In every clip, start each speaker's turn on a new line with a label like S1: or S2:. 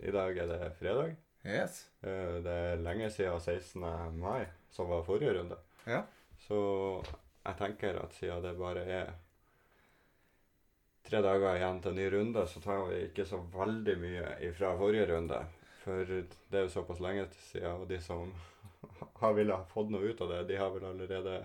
S1: I dag er det fredag.
S2: Yes.
S1: Eh, Det er lenge siden 16. mai, som var forrige runde.
S2: Ja.
S1: Så jeg tenker at siden det bare er tre dager igjen til ny runde, så tar vi ikke så veldig mye ifra forrige runde. For det er jo såpass lenge siden, og de som har ville ha fått noe ut av det, de har vel allerede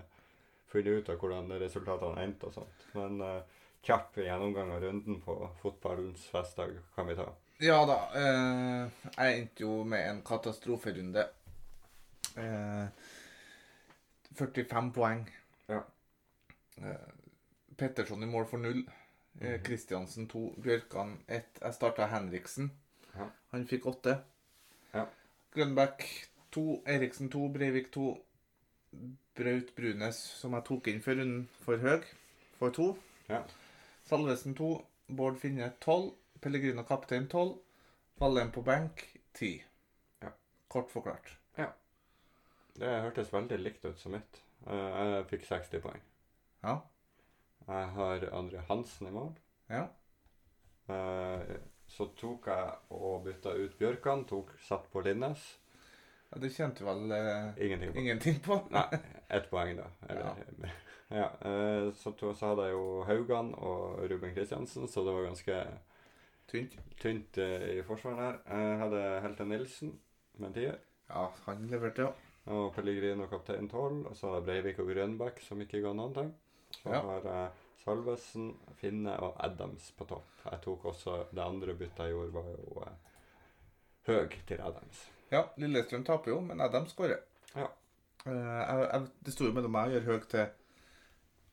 S1: funnet ut av hvordan resultatene endte og sånt. Men eh, kjapp gjennomgang av runden på fotballens festdag kan vi ta.
S2: Ja da. Eh, jeg endte jo med en katastroferunde. Eh, 45 poeng.
S1: Ja.
S2: Eh, Petterson i mål for null. Eh,
S1: Mhm.
S2: Kristiansen to. Bjørkan ett. Jeg starta Henriksen.
S1: Ja.
S2: Han fikk åtte.
S1: Ja.
S2: Grønbæk to. Eriksen to. Breivik to. Braut Brunes, som jeg tok inn før runden, for høg, for to.
S1: Ja.
S2: Salvesen to. Bård Finne tolv. Pellegrino kaptein 12. Vallen på benk 10.
S1: Ja.
S2: Kort forklart.
S1: Det hørtes veldig likt ut som mitt. Eh, Jeg fikk 60 poeng.
S2: Ja.
S1: Jeg har André Hansen i mål.
S2: Ja.
S1: Eh, Så tok jeg og bytta ut Bjørkan, tok satt på Linnes.
S2: ja det kjente du vel eh,
S1: Ingenting på.
S2: ingenting på?
S1: Nei, ett poeng, da. Eller, ja. eh, så, to, så hadde jeg jo Haugan og Ruben Kristiansen, så det var ganske
S2: Tynt.
S1: tynt eh, i forsvaret her. Jeg hadde Helte Nilsen med en tier,
S2: Ja, han leverte, ja.
S1: og Pellegrino kaptein tolv. Og så hadde jeg Breivik og Grønbæk, som ikke ga noen ting. Så
S2: Ja.
S1: har jeg Salvesen, Finne og Adams på topp. Jeg tok også Det andre byttet jeg gjorde, var jo eh, Høg til Adams.
S2: Ja, Lillestrøm taper jo, men Adam skårer.
S1: Ja.
S2: Eh, jeg, jeg, det sto jo mellom meg og Høg til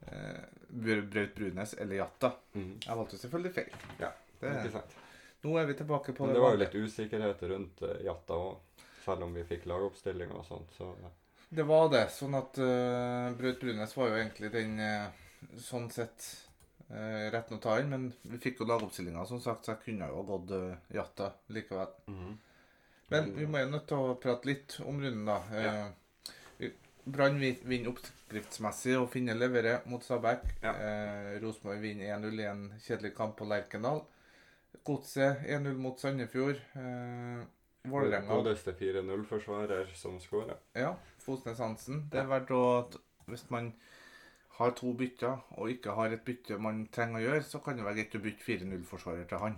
S2: eh, Bjør- Braut Brunes eller Jatta.
S1: Mhm.
S2: Jeg valgte jo selvfølgelig feil.
S1: Ja,
S2: det,
S1: Ikke sant?
S2: Nå er vi tilbake på
S1: Men det var jo litt usikkerhet rundt eh, Jatta òg, selv om vi fikk lagoppstilling og sånt. Så eh,
S2: Det var det. Sånn at eh, Braut Brunes var jo egentlig den eh, sånn sett uh, retten å ta inn, men vi fikk jo lagoppstillinga, som sagt, så jeg kunne jo ha gått eh, Jatta likevel. Mm. Men vi må jo nødt til å prate litt om runden, da. Eh, vi- Brann vi- vinner oppskriftsmessig, og Finne leverer mot Stabæk.
S1: Ja.
S2: Eh, Rosenborg vinner 1-0 i en kjedelig kamp på Lerkendal. Godset 1-0 mot Sandefjord. Eh,
S1: Mm.
S2: Vålerenga
S1: Godeste 4-0-forsvarer som skårer.
S2: ja, Fosnes Hansen.
S1: Ja.
S2: Det er verdt å Hvis man har to bytter, og ikke har et bytte man trenger å gjøre, så kan det være greit å bytte 4-0-forsvarer til han.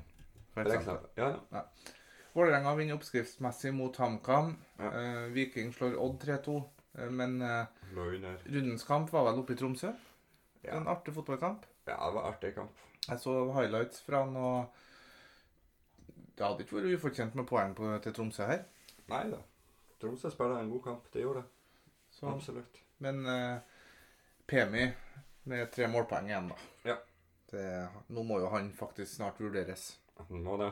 S2: For
S1: For
S2: eksempel.
S1: eksempel. Ja, ja.
S2: Vålerenga vinner oppskriftsmessig mot HamKam.
S1: Ja.
S2: Eh, Viking slår Odd 3-2. eh, Men eh,
S1: Lå under.
S2: rundens kamp var vel oppe i Tromsø.
S1: Ja.
S2: En artig fotballkamp.
S1: ja, det var artig kamp.
S2: Jeg så highlights fra han, og det hadde ikke vært ufortjent med poeng på, til Tromsø her.
S1: Nei da. Tromsø spiller en god kamp. Det gjorde det.
S2: Så,
S1: Absolutt.
S2: Men eh, Pemi med tre målpoeng igjen, da.
S1: Ja.
S2: Det, nå må jo han faktisk snart vurderes.
S1: Nå det.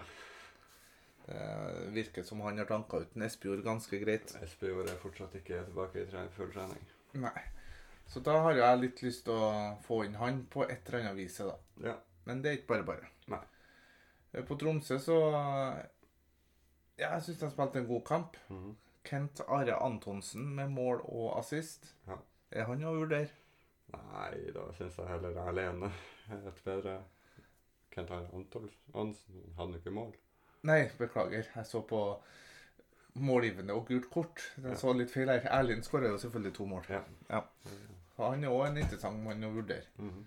S2: Det virker som han har tanka uten Espejord ganske greit.
S1: Espejord er fortsatt ikke tilbake i tre- full trening.
S2: Nei. Så da har jeg litt lyst til å få inn han på et eller annet vis, da.
S1: Ja.
S2: Men det er ikke bare bare.
S1: Nei.
S2: Eh, På Tromsø så Ja, jeg syns de spilte en god kamp.
S1: Mhm.
S2: Kent Are Antonsen med mål og assist.
S1: Ja.
S2: Er han å vurdere?
S1: Nei, da syns jeg heller alene er et bedre Kent Arne Antolf Hansen hadde jo ikke mål.
S2: Nei, beklager. Jeg så på målgivende og gult kort. Jeg så litt feil her. Erlind skåra jo selvfølgelig to mål.
S1: Ja.
S2: Så Han er òg en interessant mann å vurdere.
S1: Mhm.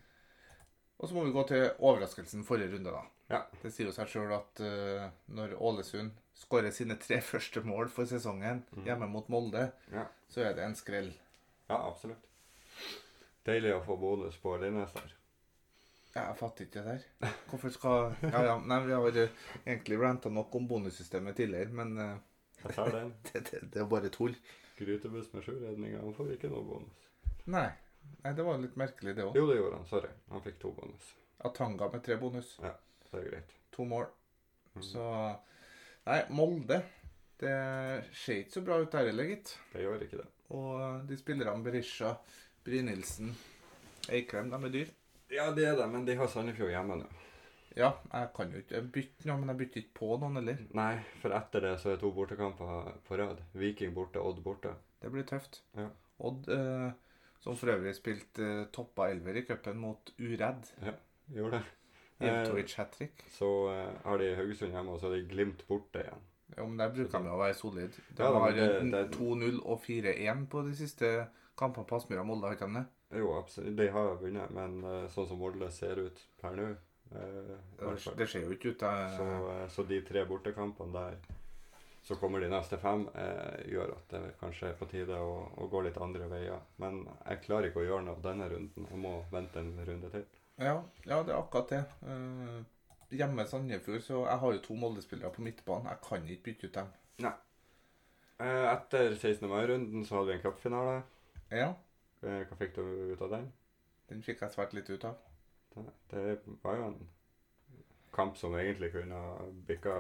S2: Og så må vi gå til overraskelsen forrige runde, da.
S1: Ja.
S2: Det sier jo seg sjøl at eh, når Ålesund skårer sine tre første mål for sesongen
S1: Mhm.
S2: hjemme mot Molde,
S1: Ja.
S2: så er det en skrell.
S1: ja, absolutt. Deilig å få bonus på Linnes der.
S2: Ja, Jeg fatter ikke det der. Hvorfor skal Ja, ja. Nei, vi har eh, egentlig ranta nok om bonussystemet tidligere, men eh,
S1: Jeg tar den.
S2: det, det, det er bare tull.
S1: Grytebuss med sju redninger. Han får ikke noe bonus.
S2: Nei. Nei, det var litt merkelig, det òg.
S1: Jo, det gjorde han. Sorry. Han fikk to bonus.
S2: Atanga med tre bonus.
S1: Det er greit.
S2: to mål.
S1: Mhm.
S2: Så Nei, Molde Det ser ikke så bra ut der heller, gitt.
S1: Det gjør ikke det.
S2: Og de spillerne Berisha, Brynildsen, Eikrem, de er dyr.
S1: Ja, det er det, men de har Sandefjord hjemme nå.
S2: Ja, jeg kan jo ikke bytte noe, men jeg bytter ikke på noen heller.
S1: Nei, for etter det så er to bortekamper på rad. Viking borte, Odd borte.
S2: Det blir tøft.
S1: Ja.
S2: Odd, eh, som for øvrig spilte eh, toppa elver i cupen mot Uredd.
S1: Gjorde det. Eh,
S2: Ivtovic hat trick.
S1: Så eh, har de Haugesund hjemme, og så har de Glimt borte igjen.
S2: Ja, men der bruker de å være solid. De
S1: Ja, da,
S2: har
S1: men det- det-
S2: 2-0 og 4-1 på de siste kampene på Aspmyra og Molde, har ikke de det?
S1: Jo, absolutt. De har vunnet, men eh, sånn som Molde ser ut per nå eh, i hvert fall.
S2: Det ser jo ikke ut. Det,
S1: så, eh, så de tre bortekampene der, så kommer de neste fem, eh, gjør at det kanskje er på tide å, å gå litt andre veier. Men jeg klarer ikke å gjøre noe denne runden. Jeg må vente en runde til.
S2: Ja, ja, det er akkurat det. Eh, hjemme i Sandefjord så jeg har jo to Molde-spillere på midtbanen. Jeg kan ikke bytte ut dem.
S1: Eh, etter 16. mai-runden så hadde vi en cupfinale.
S2: Ja,
S1: Eh, hva fikk du ut av den?
S2: den fikk jeg svært litt ut av.
S1: Det, det var jo en kamp som egentlig kunne ha bikka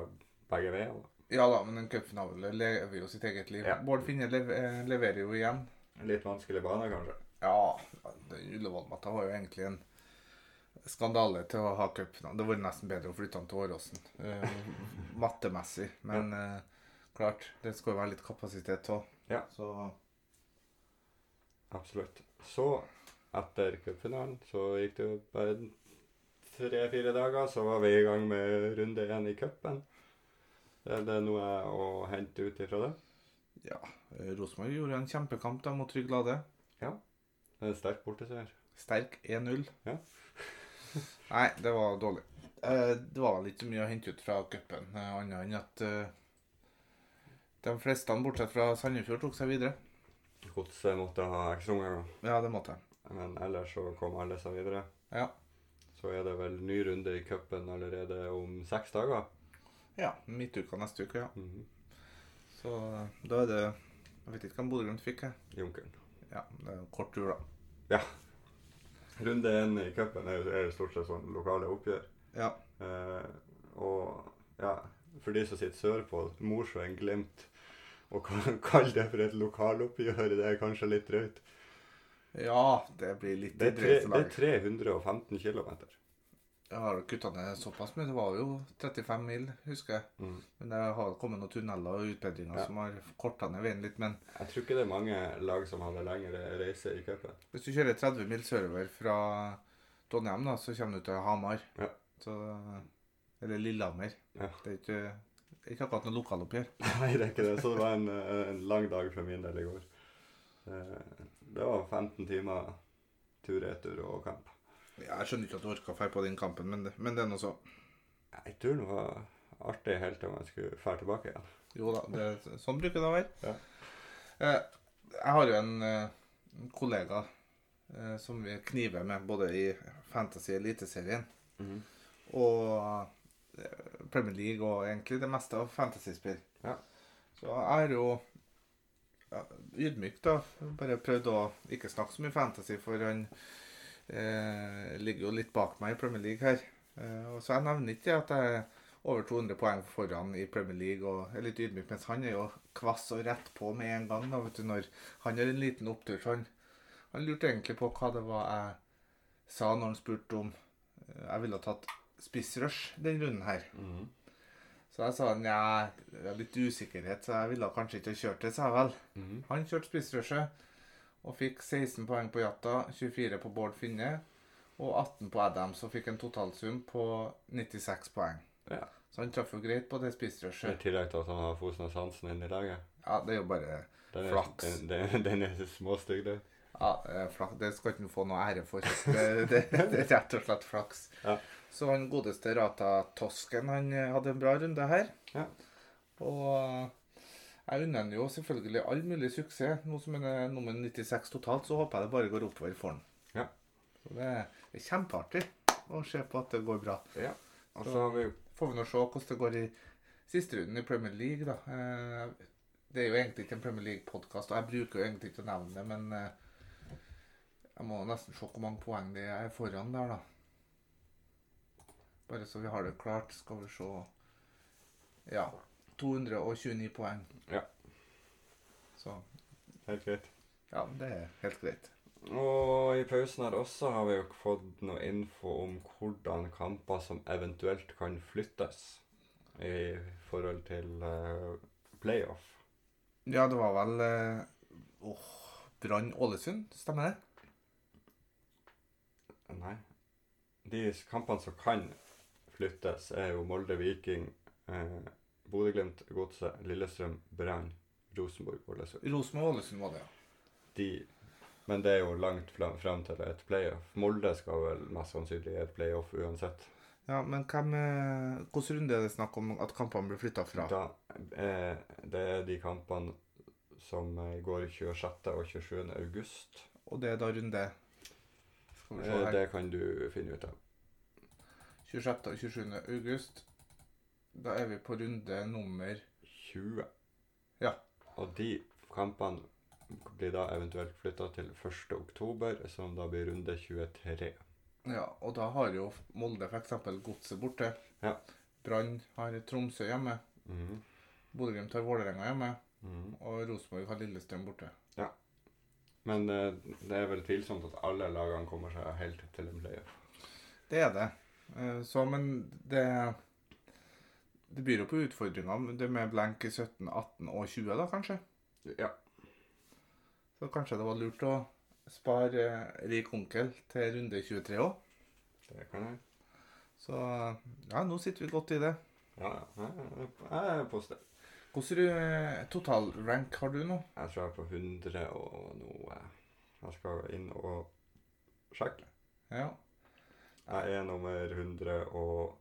S1: begge veier. da.
S2: Ja da, men en cupfinale lever jo sitt eget liv.
S1: Ja.
S2: Bård Finne lev eh, leverer jo igjen.
S1: Litt vanskelig bane, kanskje.
S2: Ja, den Ullevål-matta var jo egentlig en skandale til å ha cupfinalen. Det var nesten bedre å flytte den til Åråsen, eh, mattemessig. Men eh, klart, det skal jo være litt kapasitet òg.
S1: Ja.
S2: Så
S1: Absolutt. Så, etter cupfinalen, så gikk det jo bare tre-fire dager, så var vi i gang med runde én i cupen. Er det noe å hente ut ifra det?
S2: eh, Rosenborg gjorde en kjempekamp da mot Trygg Lade.
S1: Det er En sterk borteseier.
S2: Sterk 1-0.
S1: Ja.
S2: Nei, det var dårlig. Eh, Det var vel ikke så mye å hente ut fra cupen, eh, annet enn at eh, de fleste, bortsett fra Sandefjord, tok seg videre.
S1: Godset måtte ha ekstraomganger,
S2: Ja, det måtte de.
S1: men ellers så kom alle seg videre.
S2: Ja.
S1: Så er det vel ny runde i cupen allerede om seks dager.
S2: Ja, midtuka neste uke, ja.
S1: Mhm.
S2: Så eh, da er det Jeg vet ikke hvem Bodø Glimt fikk, jeg.
S1: Junkeren.
S2: Ja, det er en kort tur, da.
S1: Runde én i cupen er jo- er jo stort sett sånn lokale oppgjør.
S2: Ja.
S1: Eh, og ja, for de som sitter sørpå, Mosjøen, Glimt Å ka- kalle det for et lokaloppgjør, det er kanskje litt drøyt.
S2: Ja, det blir litt
S1: Det er, tre,
S2: drøyt
S1: det er
S2: lag.
S1: 315 km.
S2: Jeg har kutta ned såpass mye. Det var jo 35 mil, husker jeg.
S1: Mm.
S2: Men det har kommet noen tunneler og utbedringer
S1: Ja.
S2: som har korta ned veien litt. Men
S1: Jeg tror ikke det er mange lag som hadde lengre reise i cupen.
S2: Hvis du kjører 30 mil sørover fra Trondheim, da, så kommer du til Hamar.
S1: Ja.
S2: Så, eller Lillehammer.
S1: Ja.
S2: Det er ikke, det er ikke akkurat noe lokaloppgjør.
S1: Nei, det er ikke det. Så det var en, eh, en lang dag for min del i går. Eh, Det var 15 timer tur-retur og kamp.
S2: Ja, jeg skjønner ikke at du orka å dra på den kampen, men det, men det er nå så.
S1: Jeg tror det var artig helt til man skulle fære tilbake igjen.
S2: Jo da, det, sånn bruker det å være.
S1: Ja.
S2: Eh, Jeg har jo en eh, en kollega eh, som vi kniver med både i Fantasy og Eliteserien
S1: Mhm.
S2: og eh, Premier League og egentlig det meste av fantasyspill.
S1: Ja.
S2: Så jeg er jo ja, ydmyk, da. Bare prøvd å ikke snakke så mye fantasy, for han eh, ligger jo litt bak meg i Premier League her. Eh, og så jeg nevner ikke at jeg er over 200 poeng foran i Premier League og er litt ydmyk, mens han er jo kvass og rett på med en gang. da, vet du, når Han har en liten opptur. så han, han lurte egentlig på hva det var jeg sa når han spurte om eh, jeg ville ha tatt spissrush den runden her.
S1: Mhm.
S2: Så jeg sa nja, det er litt usikkerhet, så jeg ville kanskje ikke ha kjørt det, sa jeg vel.
S1: Mhm.
S2: Han kjørte spissrushet og fikk 16 poeng på Jatta, 24 på Bård Finne og 18 på Adams, og fikk en totalsum på 96 poeng.
S1: Ja.
S2: Så han traff jo greit på det
S1: I
S2: spissrushet.
S1: tillegg til at han har Fosnes Hansen inn i laget.
S2: Ja, det er jo bare
S1: Den er,
S2: Flaks.
S1: Den, den, den er småstygg, du.
S2: Ja, eh, flak- det skal ikke han få noe ære for. Det, det, det er rett og slett flaks.
S1: Ja.
S2: Så han godeste Rata Tosken, han eh, hadde en bra runde her.
S1: Ja.
S2: Og eh, jeg unner han jo selvfølgelig all mulig suksess. Nå som han er nummer 96 totalt, så håper jeg det bare går oppover for han.
S1: Ja.
S2: Så det er kjempeartig å se på at det går bra.
S1: Ja. Og så har vi jo
S2: Får vi nå se hvordan det går i siste runden i Premier League, da. Eh, Det er jo egentlig ikke en Premier League-podkast, og jeg bruker jo egentlig ikke å nevne det, men eh, jeg må nesten se hvor mange poeng det er foran der, da. Bare så vi har det klart, skal vi se Ja. 229 poeng.
S1: Ja.
S2: Så
S1: Helt greit.
S2: ja, det er helt greit.
S1: Og i pausen her også har vi jo fått noe info om hvordan kamper som eventuelt kan flyttes i forhold til eh, playoff.
S2: Ja, det var vel eh, Åh, Brann Ålesund, stemmer det?
S1: Nei. De kampene som kan flyttes, er jo Molde Viking, eh, Bodø-Glimt, Godset, Lillestrøm, Brann, Rosenborg og Ålesund.
S2: Rosenborg og Ålesund var det, ja.
S1: De Men det er jo langt fram, fram til et playoff. Molde skal vel mest sannsynlig i et playoff uansett.
S2: Ja, Men hvem, eh, hvilken runde er det snakk om at kampene blir flytta fra?
S1: Da, eh, det er de kampene som eh, går 26. og 27. august.
S2: Og det er da runde Skal vi se
S1: Eh,
S2: her.
S1: det kan du finne ut av.
S2: 26. og 27. august. Da er vi på runde nummer
S1: 20.
S2: Ja.
S1: Og de kampene blir da eventuelt flytta til 1. oktober, som da blir runde 23.
S2: Ja, og da har jo Molde f.eks. Godset borte.
S1: Ja.
S2: Brann har Tromsø hjemme.
S1: Mhm.
S2: Bodø-Glimt har Vålerenga hjemme.
S1: Mhm.
S2: Og Rosenborg har Lillestrøm borte.
S1: Men eh, det er vel tvilsomt at alle lagene kommer seg helt til en playoff.
S2: Det er det. Eh, Så, men det Det byr jo på utfordringer. men Det med blank i 17, 18 og 20, da kanskje.
S1: Ja.
S2: Så kanskje det var lurt å spare eh, rik onkel til runde 23 òg.
S1: Det kan jeg.
S2: Så ja, nå sitter vi godt i det.
S1: Ja, ja. Jeg- Jeg er positiv.
S2: Hvilken eh, totalrank har du nå?
S1: Jeg tror jeg er på 100 og noe. Jeg skal inn og sjekke.
S2: Ja.
S1: Jeg er nummer 130.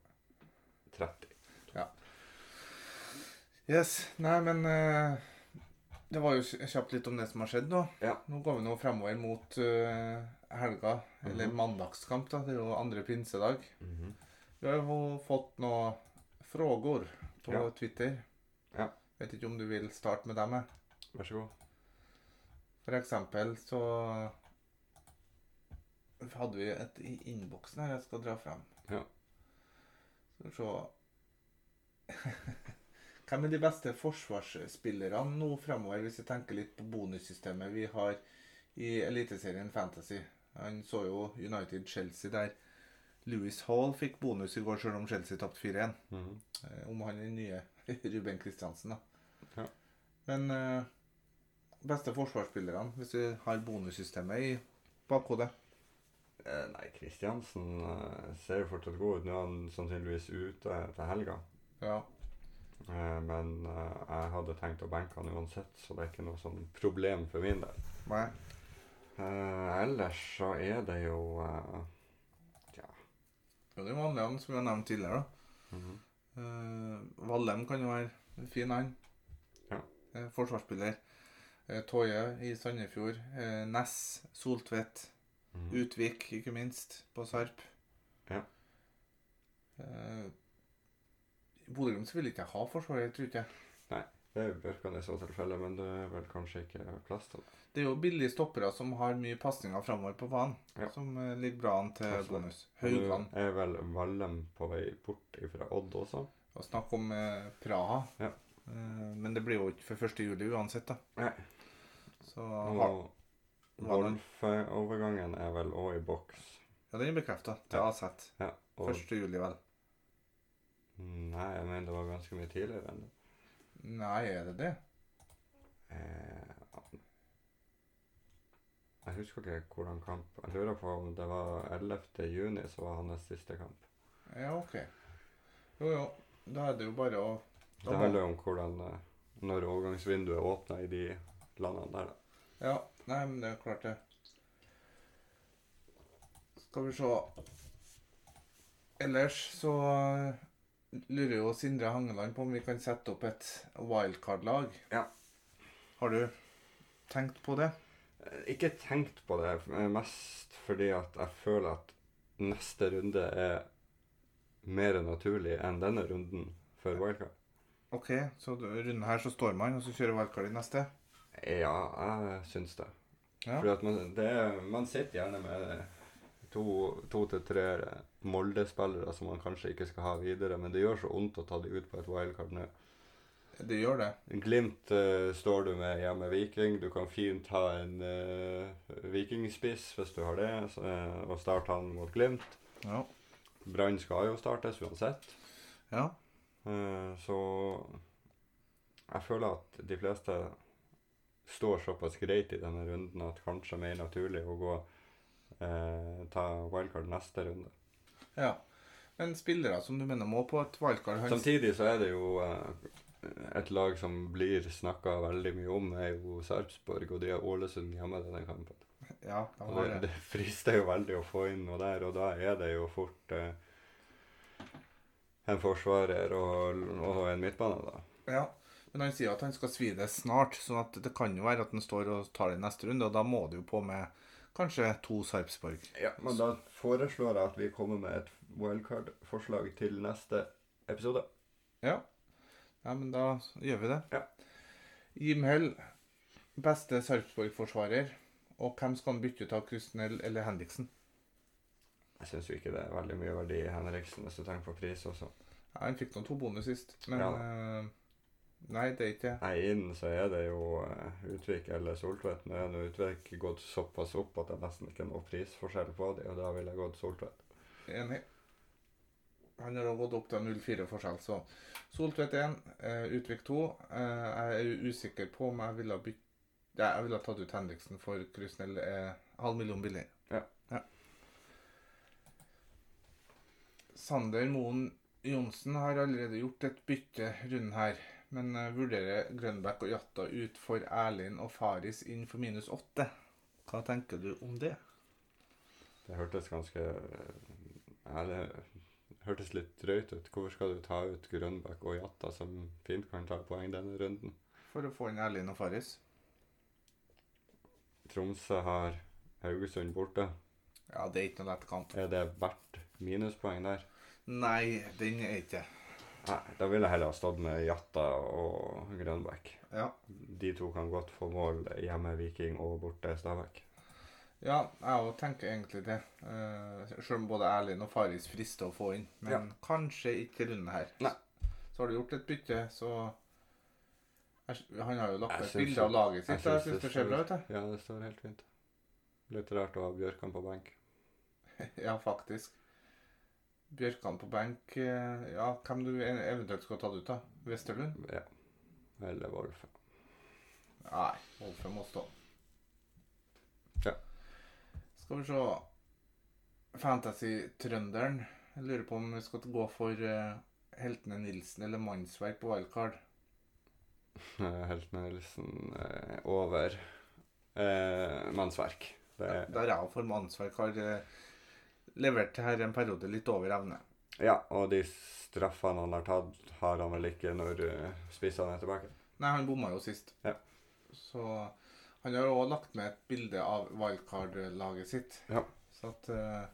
S2: Yes. Nei, men eh, det var jo kj- kjapt litt om det som har skjedd nå.
S1: Ja.
S2: Nå går vi nå fremover mot eh, helga, eller mandagskamp, da. Det er jo andre pinsedag.
S1: Mhm.
S2: Vi har jo fått noen frågor på
S1: Ja.
S2: Twitter.
S1: Ja.
S2: Vet ikke om du vil starte med dem? eh? jeg.
S1: Vær så god.
S2: For eksempel så hadde vi et i innboksen her jeg skal dra frem.
S1: Ja.
S2: Skal vi se Hvem er de beste forsvarsspillerne nå fremover, hvis vi tenker litt på bonussystemet vi har i Eliteserien Fantasy? Han så jo United-Chelsea der. Louis Hall fikk bonus i går, selv om Chelsea tapte 4-1.
S1: Mhm.
S2: Eh, om han er den nye Ruben Kristiansen, da.
S1: Ja.
S2: Men eh, beste forsvarsspillerne, hvis vi har bonussystemet i bakhodet
S1: Eh, Nei, Kristiansen eh, ser jo fortsatt god ut. Nå er han sannsynligvis ute til helga.
S2: Ja.
S1: Eh, Men eh, jeg hadde tenkt å benke han uansett, så det er ikke noe sånn problem for min del.
S2: Nei.
S1: Eh, Ellers så er det jo eh,
S2: Jo, det er vanligene som vi har nevnt tidligere, da.
S1: mhm.
S2: Eh, Vallem kan jo være fin, han.
S1: Ja.
S2: Eh, forsvarsspiller. Eh, Toje i Sandefjord. Eh, Ness, Soltvedt,
S1: Mhm.
S2: Utvik, ikke minst, på Sarp.
S1: Ja.
S2: Eh, Bodø-Glimt vil ikke ha forsvarer, tror ikke jeg.
S1: Det er jo Bjørkan i så tilfelle, men det er vel kanskje ikke plass til det.
S2: Det er jo billige stoppere som har mye pasninger framover på banen,
S1: Ja.
S2: som eh, ligger bra an til
S1: Absolutt.
S2: bonus.
S1: Og
S2: Haugland.
S1: Nå er vel Vallem på vei bort fra Odd også.
S2: Og snakk om eh, Praha.
S1: Ja.
S2: Eh, men det blir jo ikke før 1. juli uansett, da.
S1: Nei.
S2: Så har-
S1: Og Wolfe-overgangen er vel òg i boks.
S2: Ja, den er bekrefta til
S1: Ja.
S2: AZ.
S1: Ja, og
S2: 1. juli, vel.
S1: Nei, jeg mener det var ganske mye tidligere enn det.
S2: Nei, er det det?
S1: Eh, jeg husker ikke hvordan kamp Jeg lurer på om det var 11. juni som var hans siste kamp.
S2: Ja, OK. Jo, jo. Da er det jo bare å Da
S1: Det
S2: må-
S1: handler jo om hvordan eh, når overgangsvinduet åpna i de landene der, da.
S2: Ja. Nei, men det er klart, det. Skal vi se Ellers så eh, lurer jo Sindre Hangeland på om vi kan sette opp et wildcard-lag.
S1: Ja.
S2: Har du tenkt på det?
S1: Eh, Ikke tenkt på det, eh, mest fordi at jeg føler at neste runde er mer naturlig enn denne runden for wildcard.
S2: OK, så du- runden her så står man, og så kjører wildcard i neste.
S1: Ja, jeg syns det.
S2: Ja.
S1: Fordi at man, det er, man sitter gjerne med to, to til tre Molde-spillere som man kanskje ikke skal ha videre, men det gjør så vondt å ta de ut på et wildcard nå.
S2: Det gjør det.
S1: Glimt eh, står du med hjemme Viking. Du kan fint ha en eh, vikingspiss hvis du har det, så, eh, og starte han mot Glimt.
S2: Ja.
S1: Brann skal jo startes uansett.
S2: ja.
S1: Eh, Så jeg føler at de fleste står såpass greit i denne runden at kanskje mer naturlig å gå eh, ta wildcard neste runde.
S2: Ja. Men spillere som du mener må på et wildcard hans,
S1: Samtidig så er det jo eh, et lag som blir snakka veldig mye om, er jo Sarpsborg, og de har Ålesund hjemme denne kampen.
S2: Ja, de
S1: Og
S2: har
S1: det,
S2: det.
S1: det frister jo veldig å få inn noe der, og da er det jo fort eh, en forsvarer og, og en midtbane, da.
S2: Ja. Men han sier at han skal svi det snart, sånn at det kan jo være at han står og tar det i neste runde, og da må du jo på med kanskje to Sarpsborg.
S1: Ja, Men da foreslår jeg at vi kommer med et wildcard-forslag til neste episode.
S2: Ja. Nei, men da gjør vi det.
S1: Ja.
S2: Jim Hell, beste Sarpsborg-forsvarer. Og hvem skal han bytte ut av Krusnell eller Henriksen?
S1: Jeg syns ikke det er veldig mye verdi i Henriksen, hvis du tenker på pris også.
S2: Ja, han fikk noen to bonus sist, men
S1: Ja.
S2: eh, Nei, det er ikke det.
S1: Nei, inn så er det jo eh, Utvik eller Soltvedt. Nå er nå Utvik gått såpass opp at det nesten ikke er noe prisforskjell på dem, og da ville jeg gått Soltvedt.
S2: Enig. Han har også gått opp til 0-4 forskjell, så Soltvedt 1, eh, Utvik 2. Eh, jeg er usikker på om jeg ville ha bytt Nei, jeg ville ha tatt ut Henriksen for Krusnell eh, halv million billigere.
S1: Ja.
S2: Sander Moen Johnsen har allerede gjort et bytte runden her, men eh, vurderer Grønbæk og Jatta ut for Erlind og Faris inn for minus 8. Hva tenker du om det?
S1: Det hørtes ganske eh, Nei, det hørtes litt drøyt ut. Hvorfor skal du ta ut Grønbæk og Jatta, som fint kan ta poeng denne runden?
S2: For å få inn Erlind og Faris?
S1: Tromsø har Haugesund borte.
S2: Ja, det er ikke noe lett kamp.
S1: Er det verdt minuspoeng der?
S2: Nei, den er ikke
S1: Nei, da ville jeg heller ha stått med Jatta og Grønbæk.
S2: Ja,
S1: De to kan godt få mål hjemme Viking og borte Stabæk.
S2: ja jeg òg tenker egentlig det. Eh, selv om både Erlind og Faris frister å få inn. Men
S1: Ja.
S2: kanskje ikke til Lunde her.
S1: Nei.
S2: Så har du gjort et bytte, så jeg, s- Han har jo lagt
S1: Jeg
S2: ut
S1: syns
S2: bilde av
S1: jo-
S2: laget
S1: jeg
S2: sitt. og Jeg
S1: syns det
S2: syns det ser bra ut,
S1: Ja, det står helt fint. Litt rart å ha Bjørkan på benk.
S2: jeg. Ja, faktisk. Bjørkan på benk eh, Ja, hvem du ev- eventuelt skal ta det ut, da? Westerlund?
S1: Ja. Eller Wolf.
S2: Nei, Wolfe må stå.
S1: Ja.
S2: Skal vi se Fantasy-trønderen. Jeg lurer på om vi skal gå for eh, Heltene Nilsen eller Mannsverk på wildcard.
S1: Eh, Helten Nilsen eh, over eh, mannsverk. Det
S2: Ja,
S1: er,
S2: Der jeg for Mannsverk har eh, levert her en periode litt over evne.
S1: ja, og de straffene han har tatt, har han vel ikke når eh, spissene er tilbake.
S2: Nei, han bomma jo sist.
S1: Ja.
S2: Så han har òg lagt med et bilde av wildcard-laget sitt.
S1: Ja.
S2: Så at eh,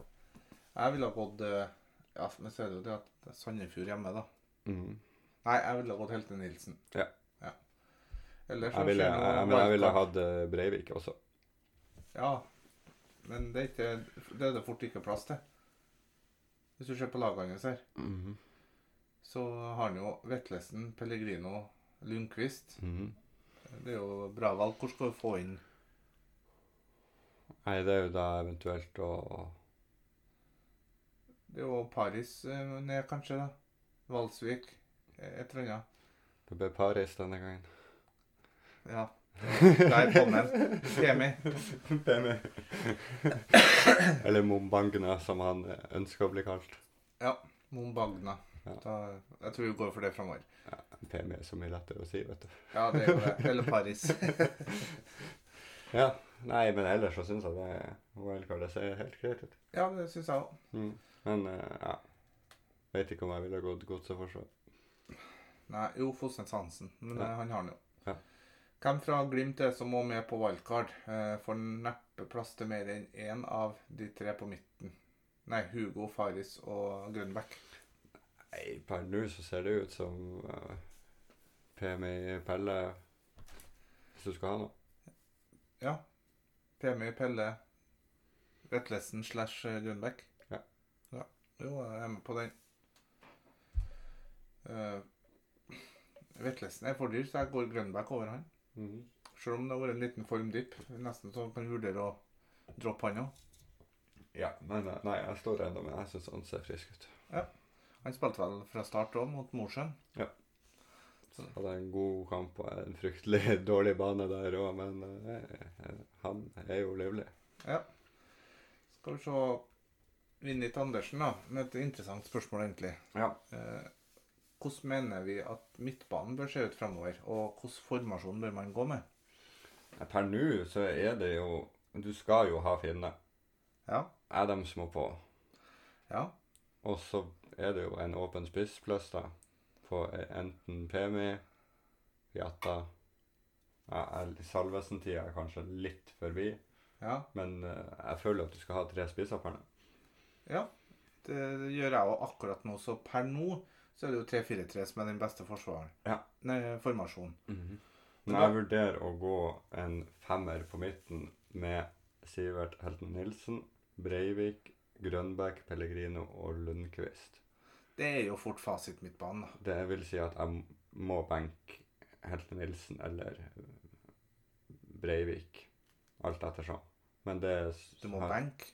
S2: Jeg ville ha gått eh, Ja, men så er det jo det at Sandefjord hjemme, da.
S1: Mhm.
S2: Nei, jeg ville ha gått Helte Nilsen.
S1: Ja.
S2: ja. Eller
S1: Jeg ville, jeg, jeg, men jeg ville hatt eh, Breivik også.
S2: Ja, men det er, ikke, det er det fort ikke plass til. Hvis du ser på lagene hans her,
S1: Mhm.
S2: så har han jo Vetlesen, Pellegrino, Lundqvist.
S1: Mhm.
S2: Det er jo bra valg. Hvor skal du få inn
S1: Nei, det er jo da eventuelt å
S2: Det er jo Paris eh, ned, kanskje, da. Valsvik. eh, Et eller annet.
S1: Det ble Paris denne gangen.
S2: Ja. Der kom den. Temi.
S1: Enig. Eller Mombangna, som han ønsker å bli kalt.
S2: Mombagna.
S1: Ja.
S2: Da, jeg tror vi går for det framover.
S1: PM er så mye lettere å si, vet du.
S2: Ja, det er jo det. Eller Paris.
S1: Ja, nei, men ellers så syns jeg det wildcardet ser helt greit ut.
S2: Ja, det syns jeg òg.
S1: Mm. Men eh, ja. Vet ikke om jeg ville gått godseforsvar.
S2: Nei, jo, Fosnes Hansen. Men
S1: Ja.
S2: eh, han har han jo.
S1: Ja.
S2: Hvem fra Glimt er det som må med på wildcard? Eh, får neppe plass til mer enn én av de tre på midten. Nei, Hugo, Faris og Grønbæk.
S1: Nei, per nå så ser det ut som eh, PMI Pelle Hvis du skal ha noe.
S2: Ja. PMI, Pelle, Vetlesen slash eh, Grønbæk.
S1: Ja.
S2: ja. Jo, jeg er med på den. Eh, Vetlesen er for dyr, så jeg går Grønbæk over han.
S1: Mhm.
S2: Selv om det har vært en liten formdipp. Nesten så man kan vurdere å droppe han òg.
S1: Ja, men eh, nei, jeg står ennå, men jeg syns han ser frisk ut.
S2: Han spilte vel fra start òg, mot Mosjøen.
S1: Hadde en god kamp og en fryktelig dårlig bane der òg, men eh, eh, han er jo livlig.
S2: Skal vi se Vinnit Andersen, da, med et interessant spørsmål, egentlig.
S1: Ja.
S2: Eh, hvordan mener vi at midtbanen bør se ut fremover, og hvilken formasjon bør man gå med?
S1: Nei, Eh, Per nå så er det jo Du skal jo ha finne.
S2: Ja,
S1: Er dem som må på.
S2: ja,
S1: Og så er det jo en åpen spissplass, da. På eh, enten Pemi, Jatta ja, er- Salvesen-tida er kanskje litt forbi,
S2: ja.
S1: men eh, jeg føler at du skal ha tre spisser per nå.
S2: Ja, det gjør jeg òg akkurat nå. Så per nå så er det jo 3-4-3 som er den beste forsvaren.
S1: Ja.
S2: Nei, formasjonen.
S1: Men jeg vurderer å gå en femmer på midten med Sivert Helten Nilsen, Breivik, Grønbæk, Pellegrino og Lundqvist.
S2: Det er jo fort fasit midtbanen. da.
S1: Det vil si at jeg må benke Helten Nilsen eller Breivik, alt ettersom. Men det er s-
S2: Du må
S1: her-
S2: benke.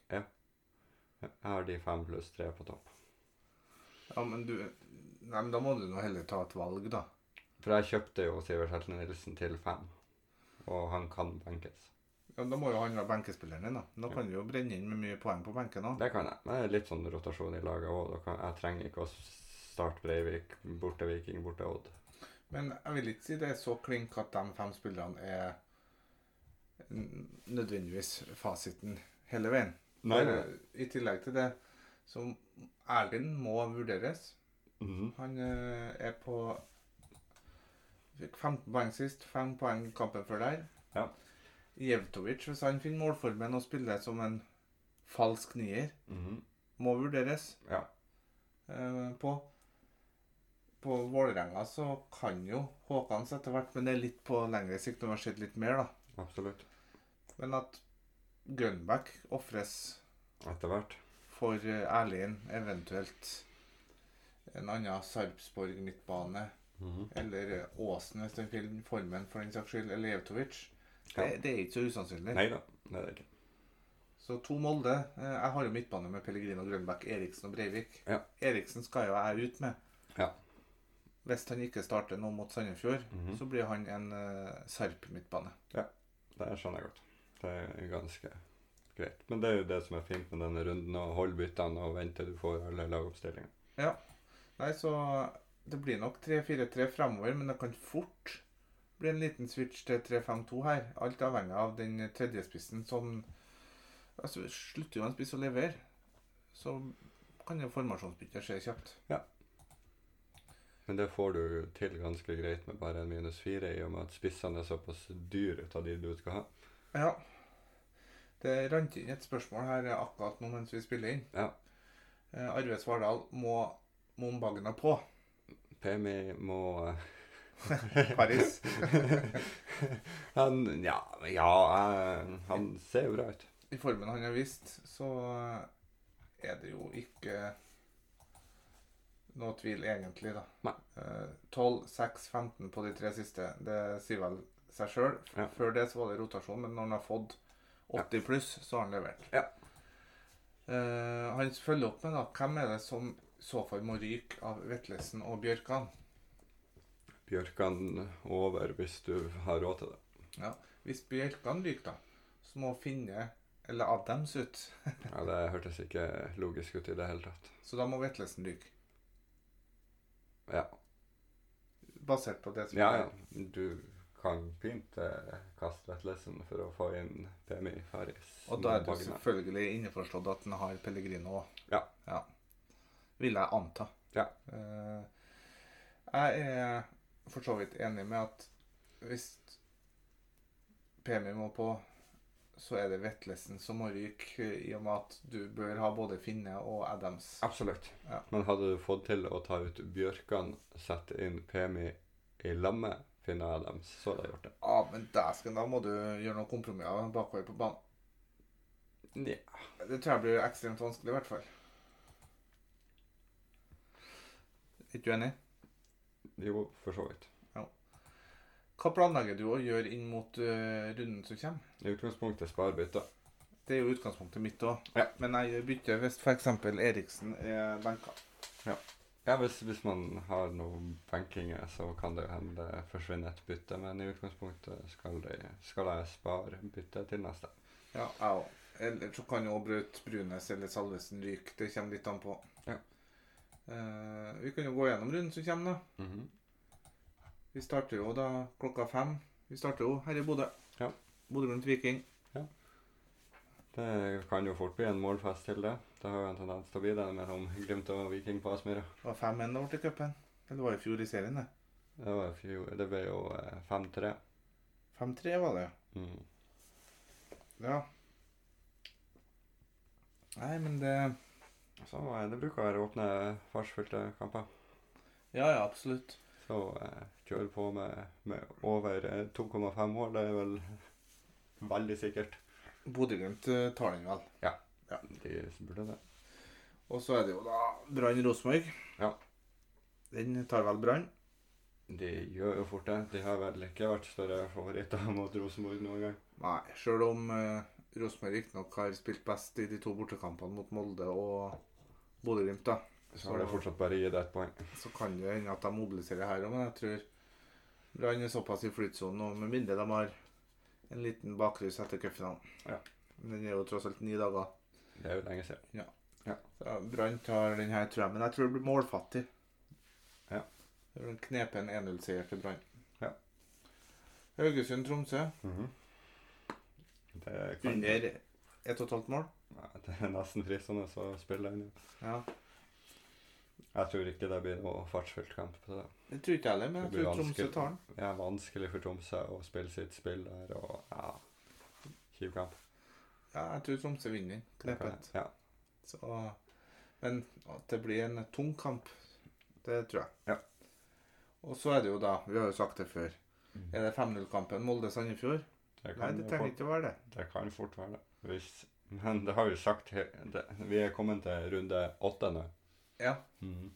S1: Jeg har de fem pluss tre på topp.
S2: Ja, men du Nei, men da må du nå heller ta et valg, da.
S1: For jeg kjøpte jo Sivert Helten Nilsen til fem, og han kan benkes.
S2: Ja, Da må jo han være benkespilleren din, da. Da kan du jo brenne inn med mye poeng på benken òg.
S1: Det kan jeg. Men det er litt sånn rotasjon i laget òg. Jeg trenger ikke å starte Breivik, borte Viking, borte Odd.
S2: Men jeg vil ikke si det er så klink at de fem spillerne er n- nødvendigvis fasiten hele veien.
S1: Nei,
S2: For,
S1: nei.
S2: eh, I tillegg til det, så Erlind må vurderes.
S1: Mhm.
S2: Han eh, er på Fikk 15 poeng sist, 5 poeng kampen før der.
S1: Ja.
S2: Jevtovic, hvis han finner målformen og spiller som en falsk nier,
S1: Mhm.
S2: må vurderes
S1: Ja.
S2: eh, på. På Vålerenga så kan jo Håkans etter hvert, men det er litt på lengre sikt når vi har sett litt mer, da.
S1: Absolutt.
S2: Men at Grønbæk ofres
S1: Etter hvert.
S2: for eh, Erlien, eventuelt en annen Sarpsborg midtbane.
S1: Mhm.
S2: Eller Åsen, hvis den finner formen for den saks skyld. Eller Jevtovic.
S1: Ja.
S2: Det, det er ikke så usannsynlig.
S1: Nei da, det er det ikke.
S2: Så to Molde. Eh, Jeg har jo midtbane med Pellegrino, Grønbæk, Eriksen og Breivik.
S1: Ja.
S2: Eriksen skal jo jeg ut med.
S1: Ja.
S2: Hvis han ikke starter nå mot Sandefjord,
S1: Mhm.
S2: så blir han en eh, Sarp-midtbane.
S1: Det skjønner jeg godt. Det er ganske greit. Men det er jo det som er fint med denne runden, å holde byttene og vente til du får alle lagoppstillingene.
S2: Nei, så det blir nok 3-4-3 fremover, men det kan fort bli en liten switch til 3-5-2 her. Alt avhengig av den tredjespissen som altså, Slutter jo en spiss å levere, så kan jo formasjonsbyttet skje kjapt.
S1: Men det får du til ganske greit med bare en minus fire, i og med at spissene er såpass dyr ut av de du skal ha.
S2: Ja. Det rant inn et spørsmål her akkurat nå mens vi spiller inn.
S1: Ja.
S2: Eh, Arve Svardal må Mombagna på
S1: Pemi må eh,
S2: Paris.
S1: Han Ja, ja eh, han ser jo bra ut.
S2: I formen han har vist, så er det jo ikke noe tvil egentlig, da.
S1: Nei.
S2: Eh, 12, 6, 15 på de tre siste. Det sier vel seg sjøl.
S1: Ja.
S2: Før det så var det rotasjon, men når han har fått 80 pluss, så har han levert.
S1: Ja.
S2: Eh, han følger opp med da, hvem er det som i så fall må ryke av Vetlesen og Bjørkan?
S1: Bjørkan over hvis du har råd til det.
S2: Hvis Bjørkan ryker, da, så må Finne eller Adams ut.
S1: Ja, Det hørtes ikke logisk ut i det hele tatt.
S2: Så da må Vetlesen ryke.
S1: Ja,
S2: Basert på det som
S1: ja.
S2: er-
S1: ja. Du kan fint eh, kaste vettlesen for å få inn Pemi Faris.
S2: Og da er du
S1: Magna.
S2: selvfølgelig innforstått at den har Pellegrino òg.
S1: Ja.
S2: ja. Vil jeg anta.
S1: Ja.
S2: Eh, jeg er for så vidt enig med at hvis PMI må på, så er det Vetlesen som må ryke, i og med at du bør ha både Finne og Adams.
S1: Absolutt.
S2: Ja.
S1: Men hadde du fått til å ta ut Bjørkan, sette inn Pemi i lammet, finne Adams, så hadde jeg gjort det.
S2: Ah, men dæsken, da må du gjøre noen kompromisser bakover på banen.
S1: Nja.
S2: Det tror jeg blir ekstremt vanskelig, i hvert fall. Er du enig?
S1: Jo, for så vidt.
S2: Hva planlegger du å gjøre inn mot eh, runden som kommer?
S1: I utgangspunktet spar bytta.
S2: Det er jo utgangspunktet mitt òg.
S1: Ja.
S2: Men jeg gjør bytte hvis f.eks. Eriksen er benka.
S1: Ja, hvis, hvis man har noen benkinger, så kan det jo hende det forsvinner et bytte, men i utgangspunktet skal, det, skal jeg spare byttet til neste.
S2: Ja, jeg òg. Eller så kan jo også Braut Brunes eller Salvesen ryke. Det kommer litt an på.
S1: Ja.
S2: Eh, vi kan jo gå gjennom runden som kommer, da.
S1: Mhm.
S2: Vi starter jo da klokka fem. Vi starter jo her i Bodø.
S1: Ja.
S2: Bodø-Glimt-Viking.
S1: Det kan jo fort bli en målfest til det. Det har jo en tendens til å bli det mellom Glimt og Viking på Aspmyra.
S2: Det var 5-1 det ble i cupen. Eller var det i fjor i serien, det.
S1: Det, var i fjor- det ble jo eh, 5-3.
S2: 5-3 var det,
S1: Mm.
S2: ja. Nei, men det
S1: Så eh, det bruker å være åpne, fartsfylte kamper.
S2: Ja, ja, absolutt.
S1: Så eh, kjøre på med, med over eh, 2,5 mål, det er vel veldig sikkert.
S2: Bodø-Glimt eh, tar den vel.
S1: De burde det.
S2: Og så er det jo da Brann Rosenborg.
S1: Ja. Den
S2: Den tar vel Brann.
S1: De gjør jo fort det. De har vel ikke vært større favoritter mot Rosenborg noen gang.
S2: Nei, sjøl om eh, Rosenborg riktignok har spilt best i de to bortekampene mot Molde og Bodø-Glimt, da.
S1: Så har det fortsatt bare gitt ett poeng.
S2: Så kan det hende at de mobiliserer her òg, men jeg tror Brann er såpass i flytsonen nå, med mindre de har en liten bakrus etter cupfinalen.
S1: Ja.
S2: Men den er jo tross alt ni dager.
S1: Det er jo lenge siden.
S2: Så Brann tar den her, tror jeg, men jeg tror det blir målfattig.
S1: Ja.
S2: Det blir en knepen 1-0-seier til Brann.
S1: Ja.
S2: Haugesund-Tromsø
S1: Det kan
S2: under 1,5 mål.
S1: Nei, Det er nesten fristende å spille den.
S2: Ja.
S1: Jeg tror ikke det blir noe fartsfylt kamp. på det.
S2: Det tror ikke jeg heller, men
S1: Det
S2: jeg
S1: blir
S2: tror Tromsø
S1: vanskelig.
S2: tar den.
S1: Det er vanskelig for Tromsø å spille sitt spill der og ja, kjip kamp.
S2: Ja, jeg tror Tromsø vinner den. Knepent.
S1: Ja.
S2: Så, men at det blir en tung kamp, det tror jeg.
S1: Ja.
S2: Og så er det jo da, vi har jo sagt det før, er det 5-0-kampen Molde-Sandefjord?
S1: Det
S2: Nei,
S1: kan,
S2: det
S1: jo
S2: trenger
S1: fort,
S2: ikke å være det.
S1: det kan fort være det. Hvis, men det har vi sagt he- det, Vi er kommet til runde åtte nå.
S2: Ja.
S1: Mhm.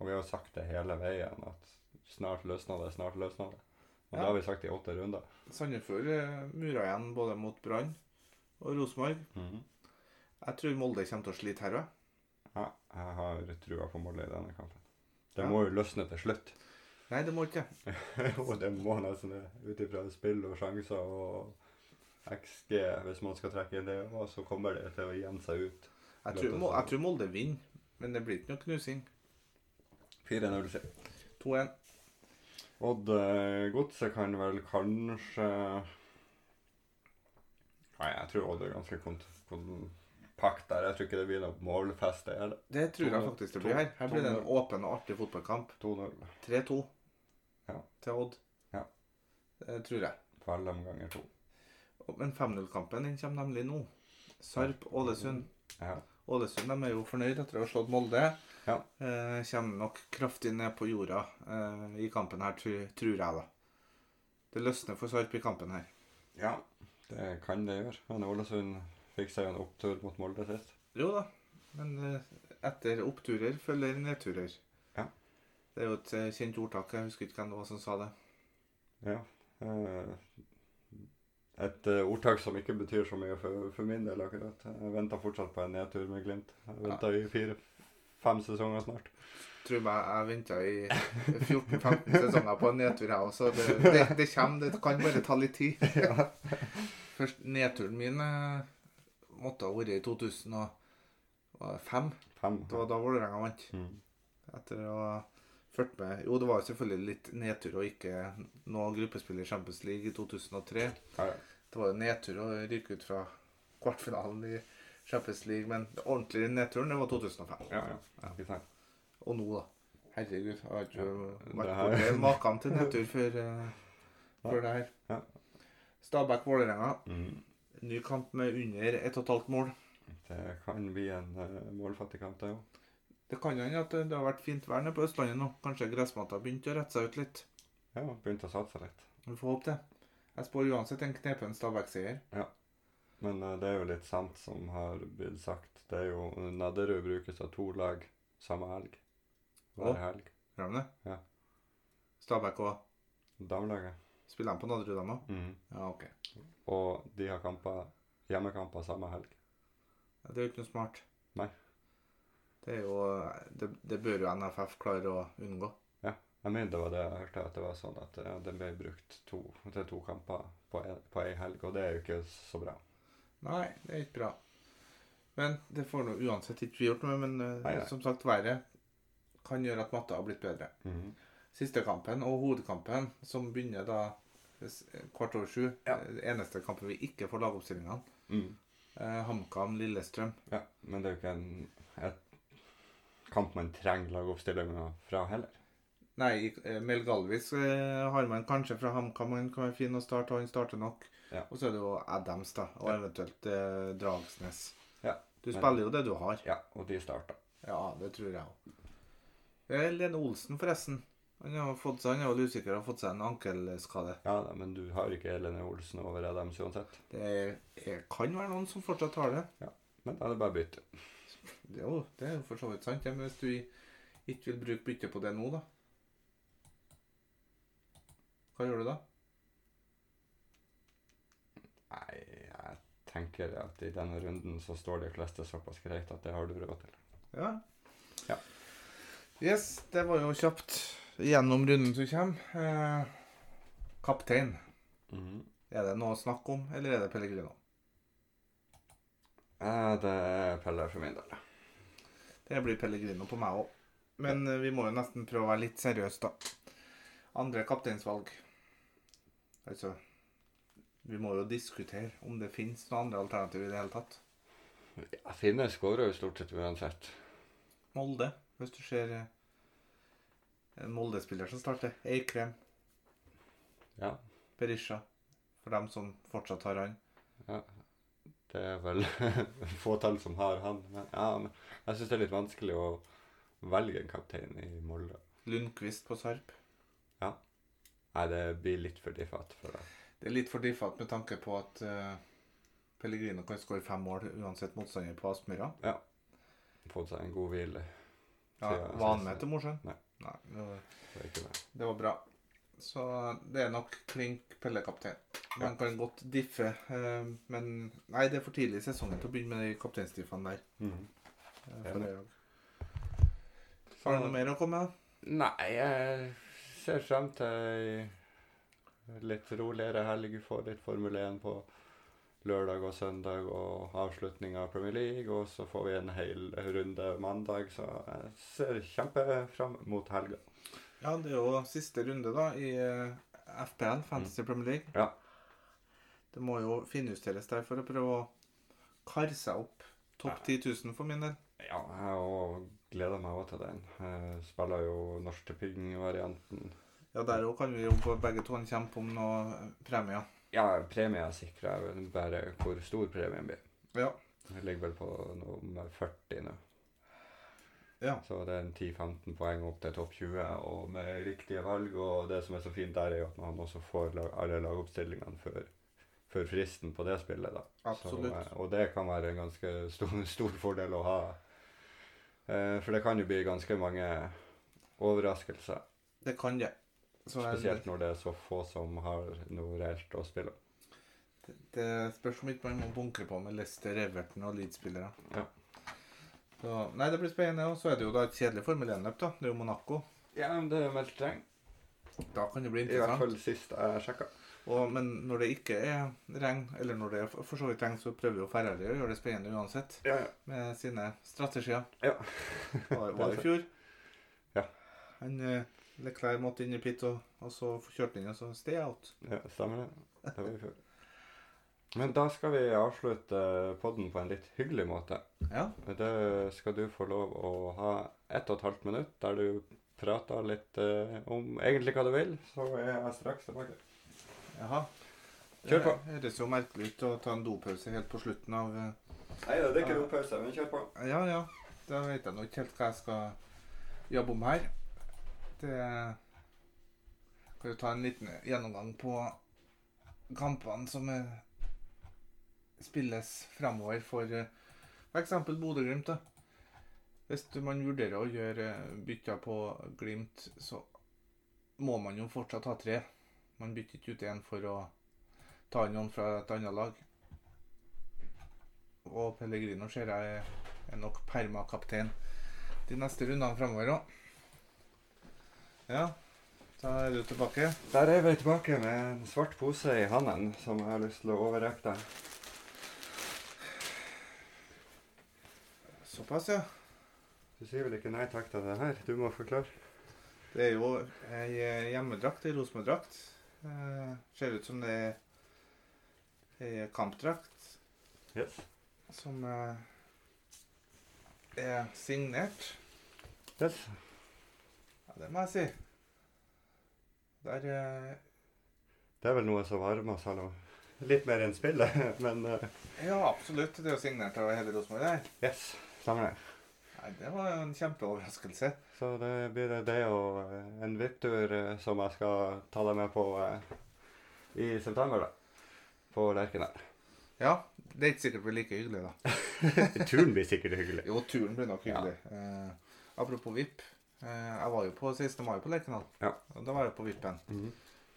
S1: Og vi har sagt det hele veien at snart løsner det, snart løsner det. Og
S2: Ja.
S1: det har vi sagt i åtte runder.
S2: Sandefjord eh, murer igjen både mot Brann og Rosenborg.
S1: Mhm.
S2: Jeg tror Molde kommer til å slite her òg.
S1: ja, jeg har trua på Molde i denne kampen. Det
S2: Ja.
S1: må jo løsne til slutt.
S2: Nei, det må ikke.
S1: og det må nesten det, ut ifra spill og sjanser og XG, hvis man skal trekke inn det. Og så kommer det til å gjemme seg ut.
S2: Jeg tror, Mo- jeg tror Molde vinner, men det blir ikke noe knusing.
S1: 4-0. sier jeg.
S2: 2-1.
S1: Odd eh, Godset kan vel kanskje Nei, jeg tror Odd er ganske kompakt der. Jeg tror ikke det blir noe målfest. Det er det.
S2: Det tror jeg
S1: 2-0.
S2: faktisk det blir her. Her blir det en
S1: 2-0.
S2: åpen og artig fotballkamp.
S1: 2-0.
S2: 3-2
S1: Ja.
S2: til Odd.
S1: Ja.
S2: Det tror jeg.
S1: Veldig mange ganger to.
S2: Men 5-0-kampen den kommer nemlig nå. Sarp Ålesund.
S1: Ja.
S2: Ålesund de er jo fornøyd etter å ha slått Molde.
S1: Ja.
S2: Eh, kommer nok kraftig ned på jorda eh, i kampen her, tru, tror jeg, da. Det løsner for Sarp i kampen her.
S1: ja, det kan det gjøre. Men Ålesund fikk seg jo en opptur mot Molde sist.
S2: Jo da, men eh, etter oppturer følger nedturer.
S1: Ja.
S2: Det er jo et eh, kjent ordtak. Jeg husker ikke hvem det var som sa det.
S1: Ja. eh, Et eh, ordtak som ikke betyr så mye for, for min del akkurat. Jeg venter fortsatt på en nedtur med Glimt. Jeg venter i fire-fem sesonger snart.
S2: Tror meg jeg venta i 14-15 sesonger på en nedtur, jeg også. Det, det, det kommer, det kan bare ta litt tid.
S1: ja.
S2: Først nedturen min eh, måtte ha vært i 2005.
S1: Fem.
S2: Det var da Vålerenga vant.
S1: Mm.
S2: Etter å ha fulgt med Jo, det var jo selvfølgelig litt nedtur å ikke nå gruppespill i Champions League i 2003.
S1: Ja, ja.
S2: Det var jo nedtur å ryke ut fra kvartfinalen i Champions League, men den ordentlige nedturen, det var 2005.
S1: Ja, ja. Ikke sant.
S2: Og nå, da. Herregud, jeg har ikke vært
S1: det her-
S2: borti maken til nedtur før, eh, før det her.
S1: Ja.
S2: Stabæk-Vålerenga. Ny kamp med under 1,5 mål.
S1: Det kan bli en eh, målfattig kamp, det òg.
S2: Det kan jo hende at det har vært fint vær nede på Østlandet nå. Kanskje gressmatta har begynt å rette seg ut litt.
S1: Ja, begynte å satse litt.
S2: Vi får håpe det. Jeg spår uansett en knepen Stabæk-seier.
S1: Men eh, det er jo litt sant som har blitt sagt. Det er jo Nadderud brukes av to lag samme helg.
S2: Å.
S1: Hver helg.
S2: Gjør de det?
S1: Ja.
S2: Stabæk òg.
S1: Damelaget.
S2: Spiller de på Nadderud, de òg?
S1: Mm.
S2: Ja, OK.
S1: Og de har kamper, hjemmekamper samme helg.
S2: Ja, Det er jo ikke noe smart.
S1: Nei.
S2: Det er jo Det, det bør jo NFF klare å unngå.
S1: Jeg mener det var det jeg hørte, at det var sånn at ja, den ble brukt to, til to kamper på, en, på ei helg, og det er jo ikke så bra.
S2: Nei, det er ikke bra. Men det får nå uansett ikke vi gjort noe med. Men eh,
S1: Nei, nei.
S2: som sagt, været kan gjøre at matta har blitt bedre.
S1: Mhm.
S2: Siste kampen og hovedkampen, som begynner da s- kvart over sju
S1: Ja.
S2: eh, Eneste kampen vi ikke får lagoppstillingene.
S1: Mm.
S2: Eh, HamKam-Lillestrøm.
S1: Ja, men det er jo ikke en et kamp man trenger lagoppstillinga fra heller.
S2: Nei, eh, Mel Galvis eh, har man kanskje fra HamKam. Han kan være fin å starte, og han starter nok.
S1: Ja.
S2: Og så er det jo Adams, da, og
S1: Ja.
S2: eventuelt eh, Dragsnes.
S1: Ja,
S2: Du
S1: men-
S2: spiller jo det du har.
S1: Ja, og de starta.
S2: Ja, det tror jeg òg. Lene Olsen, forresten. Han har fått seg, han er vel usikker og har fått seg en ankelskade.
S1: Ja, da, men du har ikke Elene Olsen over Adams uansett.
S2: Det er- er- kan være noen som fortsatt har det.
S1: Men da er det bare å bytte.
S2: Det er jo, det er jo for så vidt sant, ja, men hvis du i- ikke vil bruke bytte på det nå, da Hva gjør du da?
S1: Nei, jeg tenker at i denne runden så står de fleste såpass greit at det har du råd til.
S2: Ja.
S1: Ja.
S2: Yes, det var jo kjapt gjennom runden som kommer. Eh, kaptein,
S1: Mhm.
S2: er det noe å snakke om, eller er det Pellegrino?
S1: Eh, det er Pelle for min del.
S2: Det blir Pellegrino på meg òg. Men eh, vi må jo nesten prøve å være litt seriøse, da. Andre kapteinsvalg. Altså Vi må jo diskutere om det fins noen andre alternativ i det hele tatt.
S1: Ja, Finne skårer jo stort sett uansett.
S2: Molde, hvis du ser eh, en Molde-spiller som starter. Eikrem,
S1: Ja,
S2: Berisha. For dem som fortsatt har han.
S1: det er vel fåtall som har han. Men, ja, men jeg syns det er litt vanskelig å velge en kaptein i Molde.
S2: Lundqvist på Sarp.
S1: Nei, det blir litt for diffat for deg.
S2: Det er litt for diffat med tanke på at eh, Pellegrino kan skåre fem mål uansett motstander på Aspmyra.
S1: Fått seg en god hvile.
S2: Ja,
S1: Ja,
S2: var han
S1: så-
S2: med til Mosjøen?
S1: Nei.
S2: Nei det var-
S1: Det er ikke det.
S2: Det var bra. Så det er nok klink Pelle-kaptein. Man kan godt diffe, eh, men Nei, det er for tidlig i sesongen til å begynne med de kapteinsdiffene der. eh, for
S1: Enig.
S2: det òg. Har du noe mer å komme med?
S1: Nei, jeg ser frem til ei litt roligere helg. Få litt Formel 1 på lørdag og søndag og avslutning av Premier League. Og så får vi en hel runde mandag, så jeg ser kjempefrem mot helga.
S2: Ja, det er jo siste runde da i eh, FPL,
S1: Mm.
S2: Fantasy Premier League.
S1: Ja.
S2: Det må jo finjusteres der for å prøve å karre seg opp topp 10 000 for min del.
S1: Ja, jeg òg gleder meg også til den. Jeg spiller jo norsk tipping-varianten.
S2: Ja, der òg kan vi jo på begge to kjempe om eh, noen premier.
S1: Ja, premie er sikra, jeg vet bare hvor stor premien blir.
S2: Ja.
S1: Jeg ligger vel på nummer 40 nå.
S2: Ja.
S1: Så det er en 10-15 poeng opp til topp 20, og med riktige valg. Og det som er så fint der, er jo at man også får lag, alle lagoppstillingene før, før fristen på det spillet. da. Så,
S2: Absolutt.
S1: eh, og det kan være en ganske stor, stor fordel å ha. Eh, For det kan jo bli ganske mange overraskelser.
S2: Det kan det. Så eh, jeg-
S1: Spesielt når det er så få som har noe reelt å spille. om.
S2: Det- Det spørs om ikke man må bunkre på med Lester, Everton og Leeds-spillere.
S1: Ja.
S2: Så, nei, det blir spennende. Og så er det jo da et kjedelig Formel 1-løp, da. Det er jo Monaco.
S1: Ja, men det er meldt streng.
S2: Da kan det bli
S1: I hvert
S2: interessant.
S1: fall sist jeg sjekka.
S2: Og, men når det ikke er regn, eller når det er for så vidt regn, så prøver jo Ferrari å gjøre det spennende uansett.
S1: Ja, ja.
S2: Med sine strategier.
S1: Ja.
S2: Var, var det i fjor?
S1: Ja.
S2: Han eh, Leclerc måtte inn i pit, og, og så kjørte han inn, og så stay out.
S1: Ja, stemmer det. Det var i fjor. Men da skal vi avslutte podden på en litt hyggelig måte.
S2: Ja.
S1: Det skal du få lov å ha ett og et halvt minutt der du prater litt eh, om egentlig hva du vil, så er jeg straks tilbake.
S2: Jaha.
S1: Kjør på.
S2: Det høres jo merkelig ut å ta en dopause helt på slutten av eh,
S1: Nei da, det
S2: er ikke noe
S1: pause, men kjør på.
S2: Ja, ja. Da vet jeg nå ikke helt hva jeg skal jobbe om her. Det kan jo ta en liten gjennomgang på kampene som eh, spilles framover for eh, f.eks. Bodø-Glimt. da. Hvis du- man vurderer å gjøre eh, bytter på Glimt, så må man jo fortsatt ha tre. Man bytter ikke ut én for å ta inn noen fra et annet lag. Og Pellegrino ser jeg er er nok permakaptein de neste rundene framover òg. Ja, da er du tilbake.
S1: Der er vi tilbake med en svart pose i handen som jeg har lyst til å overrekke deg.
S2: Såpass, ja.
S1: Du sier vel ikke nei takk til det her? Du må forklare.
S2: Det er jo ei eh, hjemmedrakt, ei Rosenborg-drakt. Eh, ser ut som det er ei kampdrakt
S1: Yes.
S2: som eh, er signert.
S1: Yes.
S2: Ja, det må jeg si. Der eh,
S1: Det er vel noe som varmer oss alle. Litt mer enn spillet, men eh,
S2: Ja, absolutt. Det er jo signert av hele Rosenborg her.
S1: yes. Stemmer det.
S2: Nei, det var jo en kjempeoverraskelse.
S1: Så det blir det og eh, en VIP-tur eh, som jeg skal ta deg med på eh, i september, da. På Lerkendal.
S2: Ja, det er ikke sikkert det blir like hyggelig, da.
S1: Turen blir sikkert hyggelig.
S2: Jo, turen blir nok hyggelig. Eh, apropos VIP. Eh, jeg var jo på 16. mai på Lerkendal.
S1: Ja.
S2: Og Da var jeg på VIP-en.
S1: Mhm.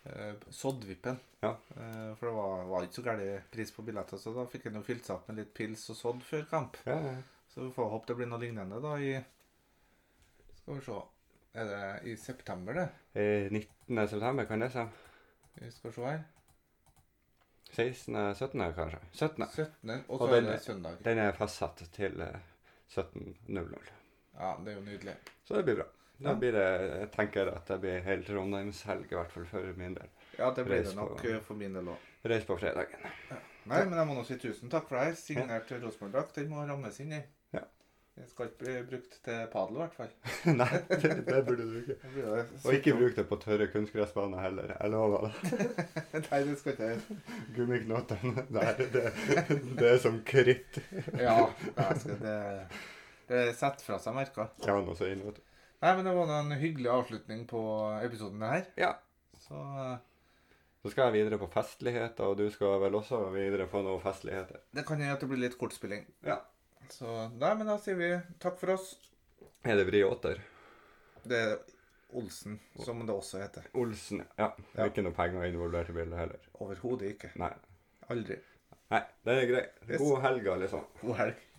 S2: Eh, Sodd-VIP-en.
S1: Ja.
S2: Eh, for det var, var ikke så gæren pris på billetter, så da fikk en jo fylt seg opp med litt pils og sodd før kamp.
S1: Ja, ja.
S2: Så vi får håpe det blir noe lignende da i Skal vi se Er det i september, det?
S1: Eh, 19. september, kan det stemme?
S2: Vi skal se her.
S1: 16. 17. kanskje? 17.
S2: 17. Og
S1: Og
S2: så er
S1: den-
S2: det søndag.
S1: Den er fastsatt til eh, 17.00.
S2: Ja, det er jo nydelig.
S1: Så det blir bra. Da
S2: Ja.
S1: blir det, jeg tenker at det blir hele Trondheimshelg, i hvert fall for min del.
S2: Ja, det blir det
S1: Reis på-
S2: nok eh, for min del òg.
S1: Reis på fredagen.
S2: Nei, men jeg må nå si tusen takk for deg. Signert Rosenborg-drakt. Den må rammes inn i.
S1: Ja.
S2: Den skal ikke bli brukt til padel, i hvert fall.
S1: Nei, det, det burde du ikke.
S2: Da blir det
S1: Og ikke bruk det på tørre kunstgressbaner heller. Jeg lover det.
S2: Nei, det skal ikke jeg.
S1: Gummiknotene der, det, det er som kritt.
S2: Ja, jeg skal det, det setter fra seg merker.
S1: Ja, noe så inn, vet du.
S2: Nei, men det var da en hyggelig avslutning på episoden her.
S1: Ja.
S2: Så eh,
S1: Så skal jeg videre på festligheter, og du skal vel også videre på noen festligheter.
S2: det kan hende at det blir litt kortspilling.
S1: Ja.
S2: Så nei, men da sier vi takk for oss.
S1: Er det Vri Åtter?
S2: Det er Olsen, som det også heter.
S1: Olsen, ja.
S2: Ja.
S1: Ikke noe penger involvert i bildet heller.
S2: Overhodet ikke.
S1: Nei.
S2: Aldri.
S1: Nei, det er greit.
S2: Yes.
S1: God helg, alle sammen.
S2: God helg.